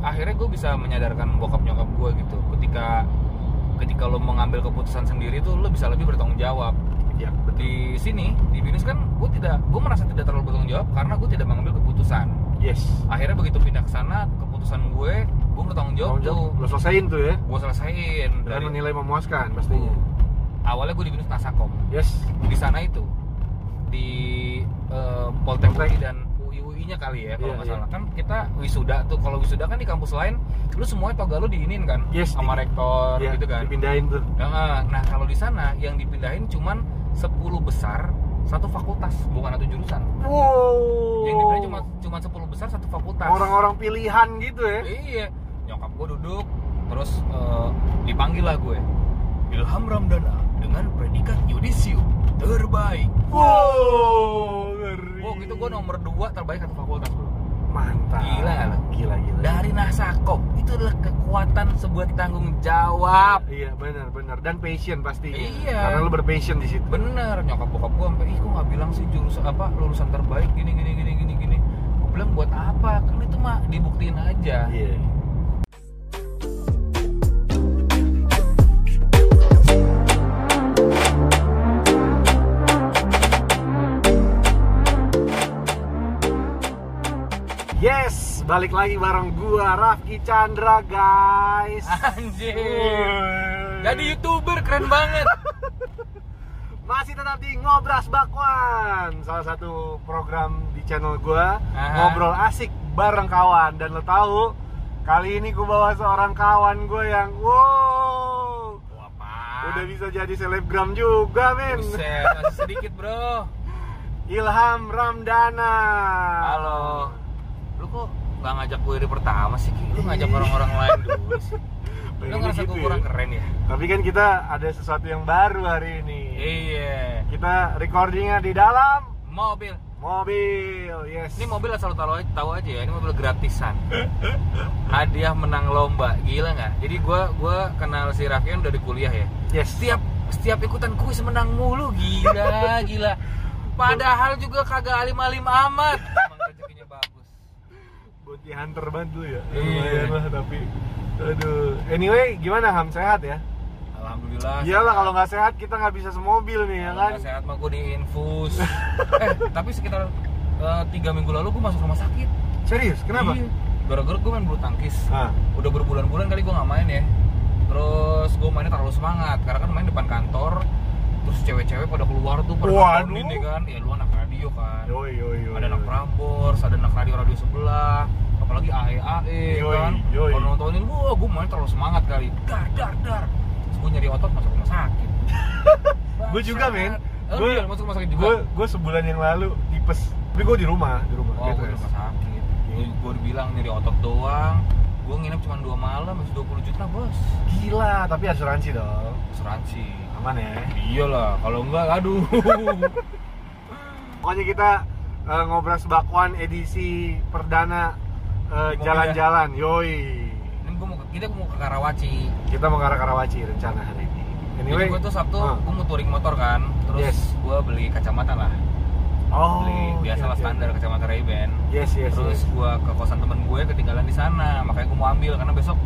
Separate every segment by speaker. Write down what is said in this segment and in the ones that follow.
Speaker 1: akhirnya gue bisa menyadarkan bokap nyokap gue gitu ketika ketika lo mengambil keputusan sendiri tuh lo bisa lebih bertanggung jawab
Speaker 2: ya
Speaker 1: di sini di binus kan gue tidak gue merasa tidak terlalu bertanggung jawab karena gue tidak mengambil keputusan
Speaker 2: yes
Speaker 1: akhirnya begitu pindah ke sana keputusan gue gue bertanggung jawab
Speaker 2: Tanggung jawab.
Speaker 1: tuh
Speaker 2: lo selesaiin tuh ya
Speaker 1: gue selesaiin
Speaker 2: dan
Speaker 1: dari
Speaker 2: menilai memuaskan pastinya
Speaker 1: awalnya gue di binus nasakom
Speaker 2: yes
Speaker 1: di sana itu di eh, Poltek
Speaker 2: Poltek.
Speaker 1: UI dan UI nya kali ya kalau
Speaker 2: Iya,
Speaker 1: nggak
Speaker 2: iya.
Speaker 1: salah kan kita wisuda tuh kalau wisuda kan di kampus lain lu semua toga lu diinin kan
Speaker 2: Yes,
Speaker 1: sama
Speaker 2: di-
Speaker 1: rektor
Speaker 2: Iya,
Speaker 1: gitu kan
Speaker 2: dipindahin tuh
Speaker 1: Heeh. nah kalau di sana yang dipindahin cuman 10 besar satu fakultas bukan satu jurusan
Speaker 2: wow
Speaker 1: yang dipindahin cuma cuma 10 besar satu fakultas
Speaker 2: Oh. orang-orang pilihan gitu ya
Speaker 1: iya nyokap gue duduk terus eh, dipanggil lah gue Ilham Ramdana dengan predikat yudisium terbaik
Speaker 2: wow ngeri
Speaker 1: Wow, gitu gue nomor 2 terbaik satu fakultas bro.
Speaker 2: mantap
Speaker 1: Gila nggak lo?
Speaker 2: gila gila
Speaker 1: Dari Nasakom, itu adalah kekuatan sebuah tanggung jawab.
Speaker 2: iya benar benar dan passion pastinya
Speaker 1: Iya.
Speaker 2: karena lo berpassion di situ
Speaker 1: Bener, nyokap bokap gue sampai, ih gue nggak bilang sih jurusan apa lulusan terbaik gini gini gini gini gini. Gue bilang buat apa? Kan itu mah dibuktiin aja.
Speaker 2: iya Yes, balik lagi bareng gua Rafki Chandra guys.
Speaker 1: Anjir.
Speaker 2: Wuih.
Speaker 1: Jadi youtuber keren banget.
Speaker 2: masih tetap di Ngobras Bakwan salah satu program di channel gua
Speaker 1: Aha.
Speaker 2: ngobrol asik bareng kawan dan lo tahu kali ini gua bawa seorang kawan gue yang wow
Speaker 1: Wah, apa?
Speaker 2: udah bisa jadi selebgram juga
Speaker 1: Ah.
Speaker 2: men
Speaker 1: Buset, masih sedikit bro.
Speaker 2: Ilham Ramdana
Speaker 1: Halo. Lu kok nggak ngajak gue dari pertama sih? Ki? Lu ngajak orang-orang lain dulu sih. Lu
Speaker 2: Pengennya
Speaker 1: ngerasa gue
Speaker 2: Iya. gitu ya.
Speaker 1: kurang keren ya?
Speaker 2: tapi kan kita ada sesuatu yang baru hari ini
Speaker 1: Iya.
Speaker 2: kita recordingnya di dalam
Speaker 1: Mobil.
Speaker 2: mobil yes
Speaker 1: Ini mobil asal tahu aja, tahu aja ya. Ini mobil gratisan. Hadiah menang lomba. Gila nggak? Jadi gua gua kenal si Raffi kan dari kuliah ya.
Speaker 2: yes
Speaker 1: Setiap setiap ikutan kuis menang mulu. Gila, gila. Padahal juga kagak alim-alim amat. Emang rezekinya bagus.
Speaker 2: Body hunter banget dulu ya.
Speaker 1: Iya.
Speaker 2: Lumayan lah tapi aduh. Anyway, gimana Ham sehat ya?
Speaker 1: Alhamdulillah.
Speaker 2: Iyalah kalau nggak sehat kita nggak bisa semobil nih ya
Speaker 1: Kalau
Speaker 2: kan.
Speaker 1: nggak sehat mah gue diinfus. eh, tapi sekitar eh, tiga minggu lalu gue masuk rumah sakit.
Speaker 2: Serius, kenapa?
Speaker 1: Iya. Gara-gara gue main bulu tangkis.
Speaker 2: Ah,
Speaker 1: udah berbulan-bulan kali gue nggak main ya terus gue mainnya terlalu semangat karena kan main depan kantor terus cewek-cewek pada keluar tuh pada
Speaker 2: Waduh.
Speaker 1: nontonin ya kan ya lu anak radio kan
Speaker 2: yoi yoi yoi.
Speaker 1: ada anak prambors ada anak radio radio sebelah apalagi AE AE
Speaker 2: Yoi,
Speaker 1: kan
Speaker 2: yoi.
Speaker 1: kalau nontonin wah gue main terlalu semangat kali dar dar dar terus gue nyari otot masuk rumah sakit
Speaker 2: Gue juga, men.
Speaker 1: Eh, lu
Speaker 2: Gue-
Speaker 1: iya, masuk rumah sakit juga
Speaker 2: Gue gue sebulan yang lalu tipes. Tapi gue di rumah, di rumah. gitu.
Speaker 1: Oh, gue di
Speaker 2: Beres.
Speaker 1: rumah sakit. Gue bilang nyari otot doang. Gue nginep cuma 2 malam, masih 20 juta, Bos.
Speaker 2: Gila, tapi asuransi dong.
Speaker 1: Asuransi.
Speaker 2: Aman ya.
Speaker 1: Iyalah, kalau enggak aduh.
Speaker 2: Pokoknya kita eh, ngobras bakwan edisi perdana eh,
Speaker 1: Di mobil
Speaker 2: jalan-jalan. Yoi.
Speaker 1: Ini gua mau ke, kita mau ke Karawaci.
Speaker 2: Kita mau ke arah Karawaci rencana hari ini.
Speaker 1: Jadi gue tuh Sabtu
Speaker 2: ah.
Speaker 1: gue mau touring motor kan. Terus
Speaker 2: Yes.
Speaker 1: gue beli kacamata lah.
Speaker 2: Oh,
Speaker 1: beli
Speaker 2: oke,
Speaker 1: biasalah
Speaker 2: oke.
Speaker 1: standar kacamata Ray-Ban.
Speaker 2: Yes, yes,
Speaker 1: Terus
Speaker 2: yes.
Speaker 1: gue ke kosan temen gue ketinggalan di sana. Makanya gue mau ambil karena besok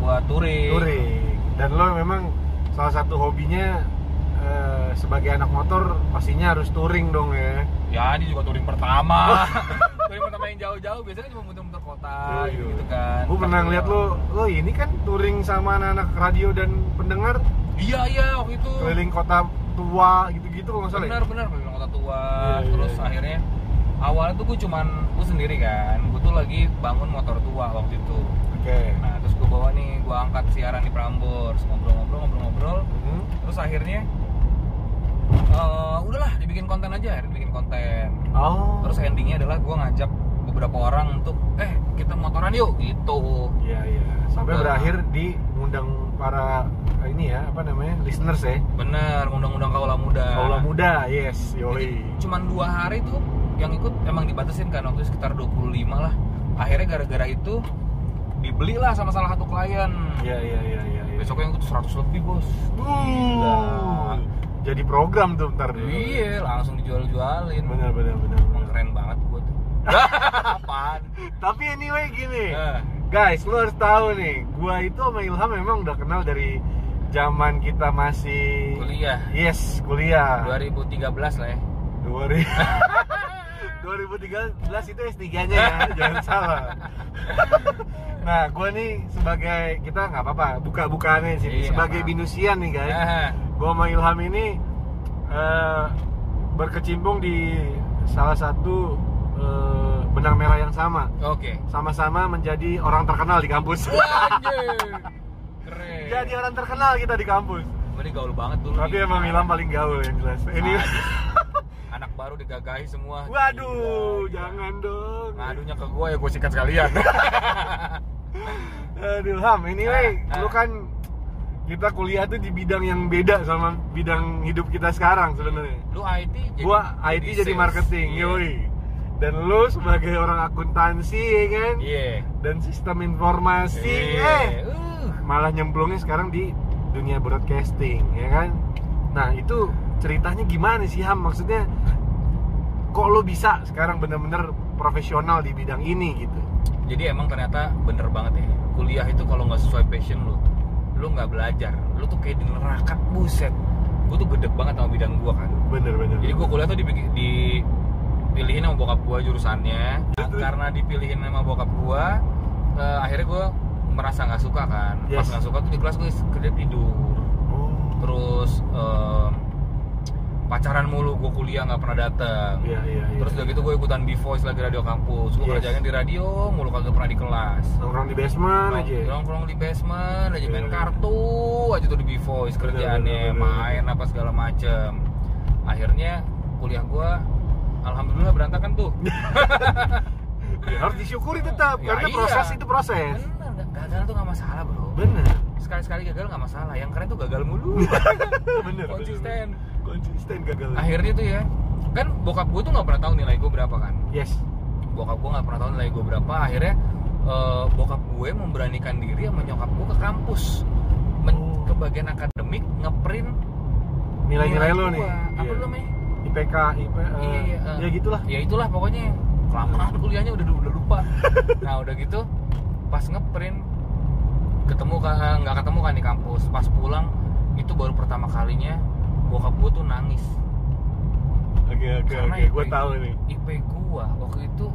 Speaker 1: gue touring.
Speaker 2: touring. Dan lo memang salah satu hobinya eh, sebagai anak motor pastinya harus touring dong ya.
Speaker 1: Ya ini juga touring pertama. touring pertama yang jauh-jauh biasanya cuma muter-muter kota
Speaker 2: Oh. Iya,
Speaker 1: gitu,
Speaker 2: iya.
Speaker 1: kan.
Speaker 2: Gue pernah ngeliat lo, lo ini kan touring sama anak-anak radio dan pendengar
Speaker 1: Iya iya waktu itu.
Speaker 2: keliling kota tua gitu-gitu kalau nggak salah. ya?
Speaker 1: benar benar keliling kota tua
Speaker 2: Iya, iya,
Speaker 1: terus
Speaker 2: iya.
Speaker 1: akhirnya awalnya tuh gue cuman gue sendiri kan gue tuh lagi bangun motor tua waktu itu
Speaker 2: Oke.
Speaker 1: nah terus gue bawa nih gue angkat siaran di Prambors ngobrol-ngobrol ngobrol-ngobrol
Speaker 2: Hmm.
Speaker 1: terus akhirnya eh, udahlah dibikin konten aja akhirnya bikin konten
Speaker 2: Oh.
Speaker 1: terus endingnya adalah gue ngajak beberapa orang untuk eh kita motoran yuk gitu
Speaker 2: Iya iya. Sampai
Speaker 1: Nah.
Speaker 2: berakhir di ngundang para eh, ini ya apa namanya listeners ya.
Speaker 1: bener undang-undang kaula muda
Speaker 2: Kaula muda, yes,
Speaker 1: Jadi
Speaker 2: yoi.
Speaker 1: cuman dua hari tuh yang ikut emang dibatasin kan waktu itu sekitar 25 lah. Akhirnya gara-gara itu dibelilah sama salah satu klien.
Speaker 2: Iya iya iya iya. iya.
Speaker 1: Besoknya ikut 100 lebih bos.
Speaker 2: Gila. Jadi program tuh ntar dulu.
Speaker 1: Iya, langsung dijual-jualin.
Speaker 2: Benar benar benar.
Speaker 1: Emang keren banget gue tuh. Apaan?
Speaker 2: Tapi anyway gini,
Speaker 1: Eh,
Speaker 2: guys lu harus tahu nih gua itu sama Ilham memang udah kenal dari zaman kita masih
Speaker 1: Kuliah.
Speaker 2: yes kuliah
Speaker 1: 2013 lah ya.
Speaker 2: 2000 2013 itu S3 nya ya jangan salah nah gua nih sebagai kita nggak apa-apa buka-bukaannya di sini
Speaker 1: Iya,
Speaker 2: sebagai
Speaker 1: apa-apa.
Speaker 2: binusian nih guys
Speaker 1: Nah,
Speaker 2: gua sama Ilham ini eh, berkecimpung di salah satu eh, benang merah yang sama
Speaker 1: Oke.
Speaker 2: sama-sama menjadi orang terkenal di kampus
Speaker 1: Anjir. Keren.
Speaker 2: jadi orang terkenal kita di kampus
Speaker 1: Beri gaul banget dulu.
Speaker 2: tapi
Speaker 1: nih.
Speaker 2: emang Ilham paling gaul yang jelas ini
Speaker 1: Aduh. Anak baru digagahi semua.
Speaker 2: waduh
Speaker 1: Gila.
Speaker 2: jangan dong
Speaker 1: Ngadunya ke gue ya gue sikat sekalian.
Speaker 2: Aduh Ham, anyway,
Speaker 1: Ah, ah.
Speaker 2: lu kan kita kuliah tuh di bidang yang beda sama bidang hidup kita sekarang sebenarnya.
Speaker 1: Lu IT jadi
Speaker 2: Gua IT jadi
Speaker 1: sales.
Speaker 2: marketing,
Speaker 1: Iya.
Speaker 2: yoi. Dan lu sebagai orang akuntansi ya kan?
Speaker 1: Iya.
Speaker 2: Dan sistem informasi,
Speaker 1: Iya.
Speaker 2: eh
Speaker 1: Uh.
Speaker 2: malah nyemplungnya sekarang di dunia broadcasting, ya kan? Nah, itu ceritanya gimana sih Ham? Maksudnya kok lu bisa sekarang bener-bener profesional di bidang ini gitu?
Speaker 1: Jadi emang ternyata bener banget ya. Kuliah itu kalau nggak sesuai passion lu, lu nggak belajar, lu tuh kayak di neraka buset. Gue tuh gede banget sama bidang gua kan.
Speaker 2: Bener-bener.
Speaker 1: Jadi gue kuliah tuh dipik- dipilihin sama bokap gue jurusannya. Nah, karena dipilihin sama bokap gue, eh, akhirnya gue merasa nggak suka kan. Pas
Speaker 2: Yes.
Speaker 1: nggak suka tuh di kelas gue kerja tidur.
Speaker 2: Oh.
Speaker 1: Terus em, pacaran mulu gue kuliah nggak pernah datang.
Speaker 2: Iya, iya, iya.
Speaker 1: Terus udah gitu gue ikutan B Voice lagi radio kampus. Gue
Speaker 2: Yes.
Speaker 1: kerjanya di radio, mulu kagak pernah di kelas.
Speaker 2: nongkrong di basement aja ya?
Speaker 1: Nongkrong di basement aja main
Speaker 2: Iya.
Speaker 1: kartu aja tuh di B Voice
Speaker 2: Bener,
Speaker 1: kerjaannya
Speaker 2: bener, bener.
Speaker 1: main apa segala macem. Akhirnya kuliah gua alhamdulillah berantakan tuh.
Speaker 2: Ya, harus disyukuri tetap
Speaker 1: Ya,
Speaker 2: karena
Speaker 1: iya. Kan?
Speaker 2: proses itu proses
Speaker 1: Bener, nggak- gagal tuh nggak masalah bro.
Speaker 2: bener
Speaker 1: Sekali-sekali gagal nggak masalah. Yang keren tuh gagal mulu.
Speaker 2: bener bener.
Speaker 1: Konsisten.
Speaker 2: konsisten gagal
Speaker 1: Akhirnya tuh ya, kan bokap gue tuh nggak pernah tahu nilai gue berapa kan.
Speaker 2: yes
Speaker 1: bokap gue nggak pernah tahu nilai gue berapa akhirnya eh, bokap gue memberanikan diri sama nyokap gue ke kampus Men-
Speaker 2: Oh.
Speaker 1: ke bagian akademik ngeprint
Speaker 2: nilai-nilai lo
Speaker 1: gua.
Speaker 2: nih
Speaker 1: apa
Speaker 2: Iya.
Speaker 1: lu namanya
Speaker 2: IPK IP eh,
Speaker 1: Iya, iya, eh.
Speaker 2: ya gitulah
Speaker 1: ya itulah pokoknya kelamaan
Speaker 2: Iya.
Speaker 1: kuliahnya udah udah lupa nah udah gitu pas ngeprint ketemu kan nggak ketemu kan di kampus pas pulang itu baru pertama kalinya bokap gue tuh nangis
Speaker 2: oke oke
Speaker 1: Karena
Speaker 2: oke
Speaker 1: IP.
Speaker 2: gue tahu nih
Speaker 1: IP gua waktu itu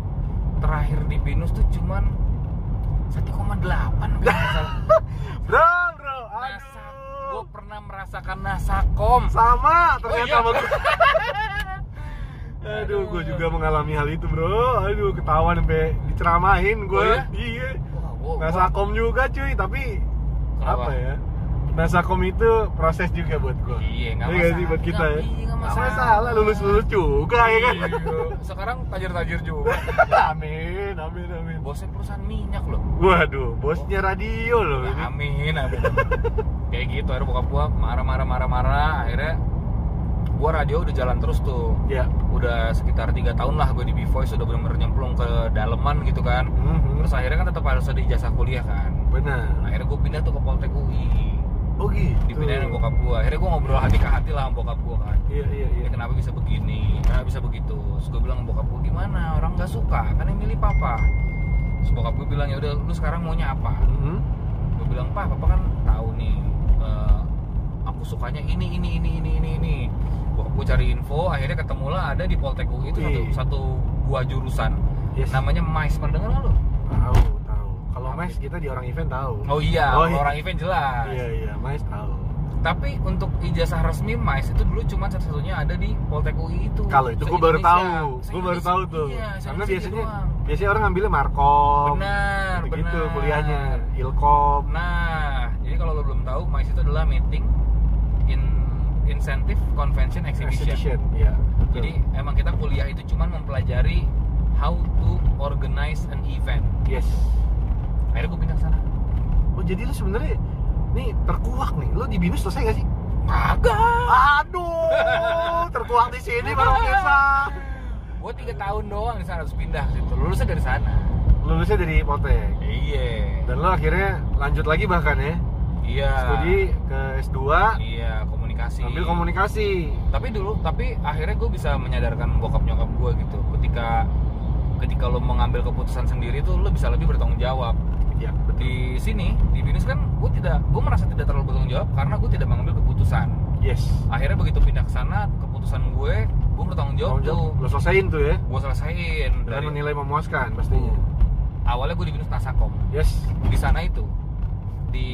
Speaker 1: terakhir di Binus tuh cuman 1,8 kalau nggak salah.
Speaker 2: bro bro
Speaker 1: Nasak.
Speaker 2: aduh
Speaker 1: Gue pernah merasakan nasakom.
Speaker 2: sama ternyata
Speaker 1: iya.
Speaker 2: sama gua. aduh gue juga mengalami hal itu bro aduh ketahuan sampai diceramahin gue
Speaker 1: Oh, iya?
Speaker 2: iya
Speaker 1: Wah, gua- gua-
Speaker 2: nasakom juga cuy tapi
Speaker 1: Kenapa?
Speaker 2: apa ya nasakom itu proses juga buat gua
Speaker 1: Iya, nggak
Speaker 2: Iya
Speaker 1: masalah.
Speaker 2: sih, buat kita ya
Speaker 1: Nggak- iya, nggak
Speaker 2: Nggak
Speaker 1: masalah.
Speaker 2: masalah lulus lulus juga ya kan
Speaker 1: Iya. Sekarang tajir-tajir juga.
Speaker 2: amin amin amin
Speaker 1: Bosnya perusahaan minyak loh.
Speaker 2: waduh bosnya radio loh
Speaker 1: Ya,
Speaker 2: ini
Speaker 1: amin, amin. Kayak gitu, akhirnya bokap gua marah-marah marah-marah. Akhirnya gua radio udah jalan terus tuh.
Speaker 2: ya
Speaker 1: Udah sekitar tiga tahun lah gue di B Voice udah bener-bener nyemplung ke daleman gitu kan.
Speaker 2: Mhm.
Speaker 1: Terus akhirnya kan tetap harus ada ijazah kuliah kan.
Speaker 2: benar
Speaker 1: Akhirnya gue pindah tuh ke Poltek UI.
Speaker 2: oh gitu
Speaker 1: dipindahin sama bokap gua akhirnya gua ngobrol hati ke hati lah sama bokap gua kan
Speaker 2: iya
Speaker 1: ya
Speaker 2: iya iya
Speaker 1: kenapa bisa begini kenapa bisa begitu terus gua bilang sama bokap gua gimana orang nggak suka kan yang milih papa terus bokap gua bilang ya udah lu sekarang maunya apa
Speaker 2: Mhm.
Speaker 1: gua bilang pak papa kan tahu nih eh, aku sukanya ini ini ini ini ini ini bokap gua cari info akhirnya ketemulah ada di Poltek UI itu satu,
Speaker 2: Wih.
Speaker 1: satu gua jurusan
Speaker 2: yes
Speaker 1: namanya MICE pernah dengar nggak lu?
Speaker 2: tahu tahu kalau mes kita di orang event tahu
Speaker 1: oh iya,
Speaker 2: Oh, iya.
Speaker 1: orang event jelas
Speaker 2: iya iya mes tahu
Speaker 1: Tapi untuk ijazah resmi MICE itu dulu cuma satu-satunya ada di Poltek UI itu.
Speaker 2: kalau itu gue baru
Speaker 1: Se-Indonesia.
Speaker 2: tahu gue baru
Speaker 1: Se-Indonesia.
Speaker 2: tahu tuh
Speaker 1: Iya,
Speaker 2: karena
Speaker 1: se-Indonesia
Speaker 2: biasanya
Speaker 1: doang.
Speaker 2: biasanya orang ngambilnya markom
Speaker 1: benar,
Speaker 2: gitu,
Speaker 1: benar.
Speaker 2: kuliahnya ilkom
Speaker 1: Nah, jadi kalau lo belum tahu MICE itu adalah meeting in incentive convention exhibition.
Speaker 2: exhibition ya betul.
Speaker 1: Jadi emang kita kuliah itu cuma mempelajari how to organize an event.
Speaker 2: yes
Speaker 1: Akhirnya gue pindah ke sana.
Speaker 2: oh jadi lu sebenarnya nih terkuak nih lu di binus selesai gak sih
Speaker 1: Kagak.
Speaker 2: aduh terkuak di sini baru biasa
Speaker 1: Gue tiga tahun doang di sana harus pindah ke situ. Lulusnya dari sana.
Speaker 2: lulusnya dari Poltek
Speaker 1: Iya.
Speaker 2: dan lu akhirnya lanjut lagi bahkan ya
Speaker 1: Iya.
Speaker 2: studi ke S2
Speaker 1: Iya komunikasi.
Speaker 2: ambil komunikasi
Speaker 1: Tapi dulu, tapi akhirnya gue bisa menyadarkan bokap nyokap gue gitu. Ketika ketika lo mengambil keputusan sendiri tuh lo bisa lebih bertanggung jawab.
Speaker 2: ya betul
Speaker 1: di sini di bisnis kan gue tidak gue merasa tidak terlalu bertanggung jawab karena gue tidak mengambil keputusan
Speaker 2: yes
Speaker 1: akhirnya begitu pindah ke sana keputusan gue gue bertanggung jawab tuh
Speaker 2: lo selesaiin tuh ya
Speaker 1: gue selesaiin
Speaker 2: dan
Speaker 1: dari
Speaker 2: menilai memuaskan pastinya
Speaker 1: awalnya gue di bisnis nasakom
Speaker 2: yes
Speaker 1: di sana itu di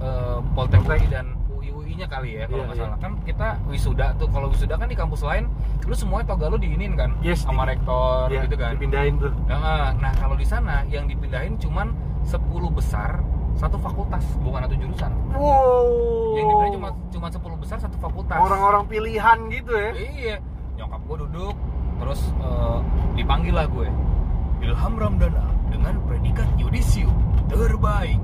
Speaker 1: eh, Poltek
Speaker 2: Poltek.
Speaker 1: UI dan UI UI nya kali ya kalau
Speaker 2: Iya,
Speaker 1: nggak
Speaker 2: iya.
Speaker 1: salah kan kita wisuda tuh kalau wisuda kan di kampus lain lu semuanya toga lu diinin kan
Speaker 2: Yes,
Speaker 1: sama
Speaker 2: di-
Speaker 1: rektor
Speaker 2: Iya,
Speaker 1: gitu kan
Speaker 2: dipindahin tuh
Speaker 1: Nah, nah kalau di sana yang dipindahin cuman 10 besar satu fakultas bukan satu jurusan.
Speaker 2: wow
Speaker 1: Yang dipindahin cuma cuma 10 besar satu fakultas.
Speaker 2: orang-orang pilihan gitu ya
Speaker 1: Iya. Nyokap gue duduk terus eh, dipanggil lah gue. Ilham Ramdana dengan predikat yudisium terbaik.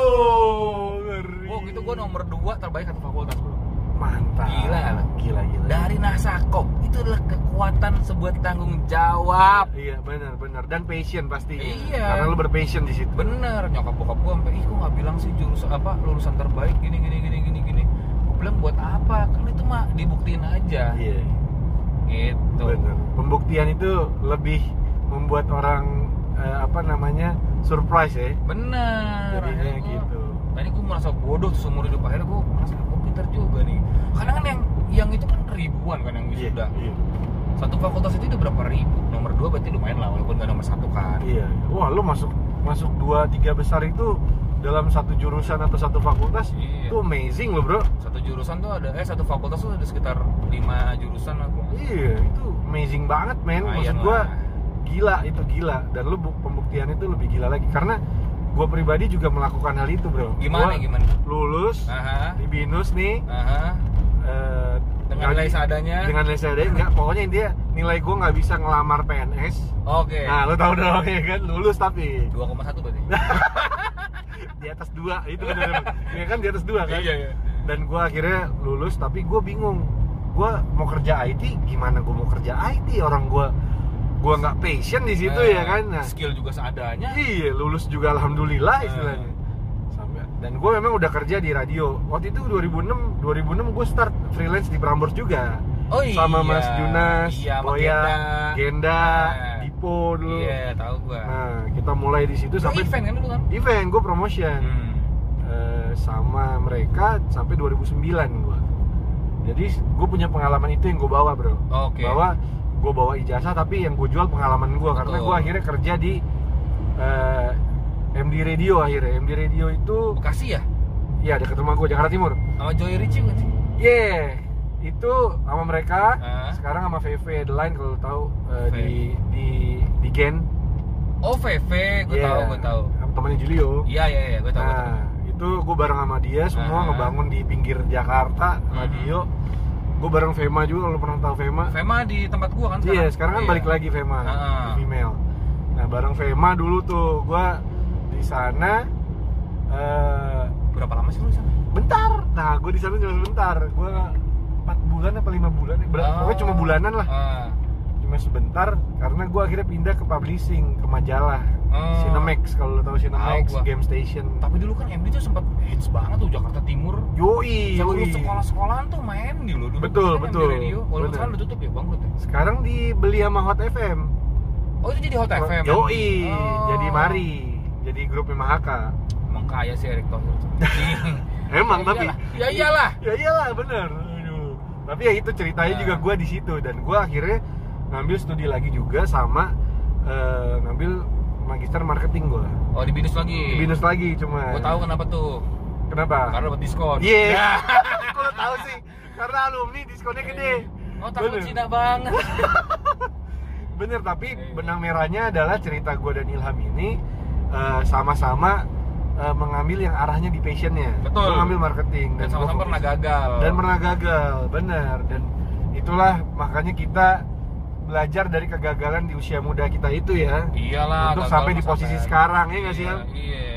Speaker 2: wow ngeri
Speaker 1: Wow, gitu gue nomor 2 terbaik satu fakultas, Bro.
Speaker 2: mantap
Speaker 1: Gila nggak lo?
Speaker 2: gila gila
Speaker 1: Dari Nasakom, itu adalah kekuatan sebuah tanggung jawab.
Speaker 2: iya benar benar dan passion pasti
Speaker 1: Iya.
Speaker 2: karena lo berpassion di situ
Speaker 1: bener nyokap bokap gue sampai ih gue nggak bilang sih jurusan apa lulusan terbaik gini gini gini gini gini gue bilang buat apa kan itu mah dibuktiin aja
Speaker 2: iya
Speaker 1: gitu
Speaker 2: benar pembuktian itu lebih membuat orang eh, apa namanya surprise ya
Speaker 1: bener
Speaker 2: jadinya
Speaker 1: Akhirnya gua-
Speaker 2: gitu
Speaker 1: tadi gue merasa bodoh tuh seumur hidup akhirnya gue merasa gue pinter juga nih karena kan yang yang itu kan ribuan kan yang
Speaker 2: Iya,
Speaker 1: wisuda
Speaker 2: iya.
Speaker 1: satu fakultas itu udah berapa ribu nomor dua berarti lumayan lah walaupun gak nomor satu kan
Speaker 2: Iya. Wah, lu masuk masuk dua tiga besar itu dalam satu jurusan atau satu fakultas
Speaker 1: Iya.
Speaker 2: itu amazing loh, Bro.
Speaker 1: satu jurusan tuh ada eh satu fakultas tuh ada sekitar lima jurusan aku
Speaker 2: Iya, itu amazing banget, men. Maksud gua gila itu gila dan lu bu- pembuktian itu lebih gila lagi karena gua pribadi juga melakukan hal itu, Bro.
Speaker 1: gimana
Speaker 2: Gua
Speaker 1: gimana
Speaker 2: Lulus
Speaker 1: aha
Speaker 2: di Binus nih
Speaker 1: aha
Speaker 2: eh,
Speaker 1: dengan
Speaker 2: nggak
Speaker 1: nilai
Speaker 2: di-
Speaker 1: seadanya
Speaker 2: dengan nilai seadanya enggak pokoknya dia nilai gua nggak bisa ngelamar PNS.
Speaker 1: oke
Speaker 2: Nah, lu tahu dong ya kan lulus tapi
Speaker 1: 2,1 berarti
Speaker 2: di atas dua itu benar ya kan di atas dua kan
Speaker 1: iya
Speaker 2: dan gue akhirnya lulus tapi gue bingung gue mau kerja IT gimana gue mau kerja IT orang gue gue nggak passion di situ ya kan nah,
Speaker 1: skill juga seadanya
Speaker 2: iya lulus juga alhamdulillah
Speaker 1: Eh.
Speaker 2: istilahnya sampai dan gue memang udah kerja di radio waktu itu 2006 2006 gue start freelance di Prambors juga
Speaker 1: oh
Speaker 2: sama Mas Junas,
Speaker 1: iya sama
Speaker 2: Boya,
Speaker 1: Genda.
Speaker 2: Genda,
Speaker 1: Eh.
Speaker 2: Dipo dulu
Speaker 1: iya tahu gua
Speaker 2: nah kita mulai di situ
Speaker 1: Itu
Speaker 2: sampai
Speaker 1: event kan dulu kan
Speaker 2: event gue promotion
Speaker 1: hmm.
Speaker 2: eh, sama mereka sampai 2009 gua. Jadi gue punya pengalaman itu yang gue bawa bro.
Speaker 1: Oh, oke
Speaker 2: Bahwa gue bawa ijazah tapi yang gue jual pengalaman gue karena
Speaker 1: Betul.
Speaker 2: gue akhirnya kerja di eh, MD Radio akhirnya. MD Radio itu
Speaker 1: Bekasi ya
Speaker 2: ya dekat rumah gue Jakarta Timur.
Speaker 1: sama Joy Ricci bukan sih
Speaker 2: Yeah, itu sama mereka.
Speaker 1: Ah.
Speaker 2: Sekarang sama VV Adeline kalau lu tahu eh,
Speaker 1: VV.
Speaker 2: di di di Gen.
Speaker 1: oh VV gue
Speaker 2: Yeah,
Speaker 1: tahu gue tahu
Speaker 2: sama Temennya Julio.
Speaker 1: iya iya iya gue tahu gua tahu.
Speaker 2: Iya. Nah, itu gue bareng sama dia semua
Speaker 1: Ah.
Speaker 2: ngebangun di pinggir Jakarta sama
Speaker 1: Mhm.
Speaker 2: Dio. Gue bareng Fema juga kalau pernah tahu Fema.
Speaker 1: Fema di tempat gua kan
Speaker 2: Iya, sekarang kan balik lagi Fema,
Speaker 1: Ah.
Speaker 2: di female. Nah, bareng Fema dulu tuh gue di sana eh,
Speaker 1: berapa lama sih lu di sana
Speaker 2: bentar. Nah, gue di sana cuma sebentar. Gue 4 bulan apa 5 bulan ya? Bulan-
Speaker 1: Ah.
Speaker 2: Pokoknya cuma bulanan lah.
Speaker 1: Ah.
Speaker 2: Cuma sebentar karena gue akhirnya pindah ke publishing, ke majalah.
Speaker 1: Ah.
Speaker 2: Cinemax kalau lo tahu Cinemax,
Speaker 1: gua.
Speaker 2: Game Station.
Speaker 1: tapi dulu kan MD tuh sempat hits banget tuh Jakarta Timur
Speaker 2: Yoi,
Speaker 1: Seluruh
Speaker 2: yoi.
Speaker 1: sekolah-sekolahan tuh main di lo dulu.
Speaker 2: Iya. Betul,
Speaker 1: Kan yang
Speaker 2: betul.
Speaker 1: Di radio, walaupun
Speaker 2: Bener.
Speaker 1: sekarang udah tutup ya, bangkrut ya.
Speaker 2: Sekarang dibeli sama Hot FM.
Speaker 1: Oh, itu jadi Hot FM.
Speaker 2: Yoi,
Speaker 1: Oh.
Speaker 2: jadi mari. Jadi grupnya Mahaka.
Speaker 1: Emang kaya sih Erick Thohir.
Speaker 2: Emang
Speaker 1: Ya
Speaker 2: tapi
Speaker 1: iyalah. Ya iyalah.
Speaker 2: Ya iyalah bener. Aduh. Tapi ya itu ceritanya
Speaker 1: Nah.
Speaker 2: juga gua di situ dan gua akhirnya ngambil studi lagi juga sama eh, ngambil magister marketing gua.
Speaker 1: Oh, di binus lagi.
Speaker 2: Di Binus lagi cuma.
Speaker 1: Gue tahu kenapa tuh.
Speaker 2: Kenapa?
Speaker 1: Karena dapat diskon.
Speaker 2: Iya.
Speaker 1: Ya.
Speaker 2: Kok lo tahu sih? Karena alumni diskonnya gede.
Speaker 1: Oh, takut
Speaker 2: Bener.
Speaker 1: Cina banget.
Speaker 2: Bener, tapi
Speaker 1: Iya.
Speaker 2: benang merahnya adalah cerita gue dan Ilham ini eh, sama-sama eh, mengambil yang arahnya di passionnya
Speaker 1: Betul.
Speaker 2: Mengambil marketing
Speaker 1: Dan
Speaker 2: gua
Speaker 1: sama-sama
Speaker 2: fokus-
Speaker 1: pernah gagal.
Speaker 2: Dan pernah gagal, bener Dan itulah makanya kita belajar dari kegagalan di usia muda kita itu ya
Speaker 1: Iyalah.
Speaker 2: Untuk
Speaker 1: gagal
Speaker 2: sampai
Speaker 1: mah
Speaker 2: di posisi
Speaker 1: sampai-
Speaker 2: sekarang, ya nggak sih,
Speaker 1: Iya,
Speaker 2: Al?
Speaker 1: Iya.